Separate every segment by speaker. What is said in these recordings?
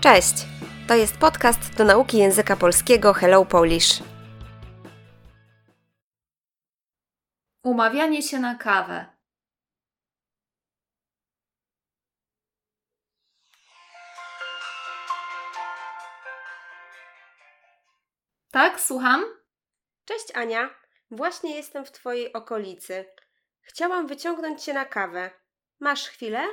Speaker 1: Cześć! To jest podcast do nauki języka polskiego Hello Polish.
Speaker 2: Umawianie się na kawę. Tak, słucham?
Speaker 1: Cześć Ania, właśnie jestem w Twojej okolicy. Chciałam wyciągnąć się na kawę. Masz chwilę?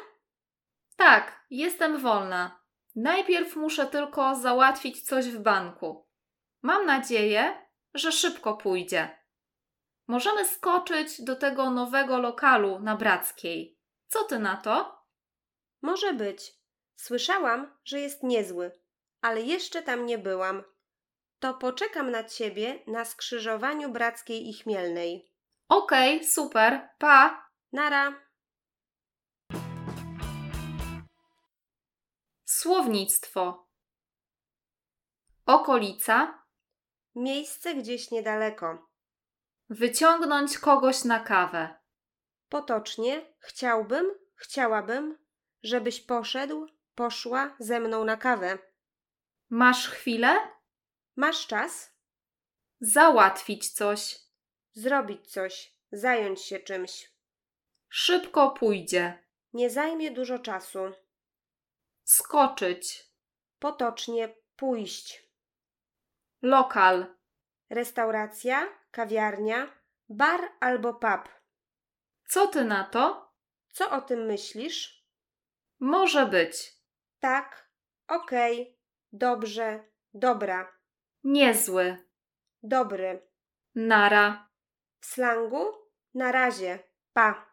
Speaker 2: Tak, jestem wolna. Najpierw muszę tylko załatwić coś w banku. Mam nadzieję, że szybko pójdzie. Możemy skoczyć do tego nowego lokalu na Brackiej. Co ty na to?
Speaker 1: Może być. Słyszałam, że jest niezły, ale jeszcze tam nie byłam. To poczekam na Ciebie na skrzyżowaniu Brackiej i Chmielnej.
Speaker 2: Okej, super, pa!
Speaker 1: Nara!
Speaker 2: Słownictwo. Okolica.
Speaker 1: Miejsce gdzieś niedaleko.
Speaker 2: Wyciągnąć kogoś na kawę.
Speaker 1: Potocznie chciałbym, chciałabym, żebyś poszedł, poszła ze mną na kawę.
Speaker 2: Masz chwilę?
Speaker 1: Masz czas?
Speaker 2: Załatwić coś.
Speaker 1: Zrobić coś, zająć się czymś.
Speaker 2: Szybko pójdzie.
Speaker 1: Nie zajmie dużo czasu.
Speaker 2: Skoczyć.
Speaker 1: Potocznie pójść.
Speaker 2: Lokal.
Speaker 1: Restauracja, kawiarnia, bar albo pub.
Speaker 2: Co ty na to?
Speaker 1: Co o tym myślisz?
Speaker 2: Może być.
Speaker 1: Tak, okej, dobrze, dobra,
Speaker 2: Niezły.
Speaker 1: dobry.
Speaker 2: Nara.
Speaker 1: W slangu na razie, pa.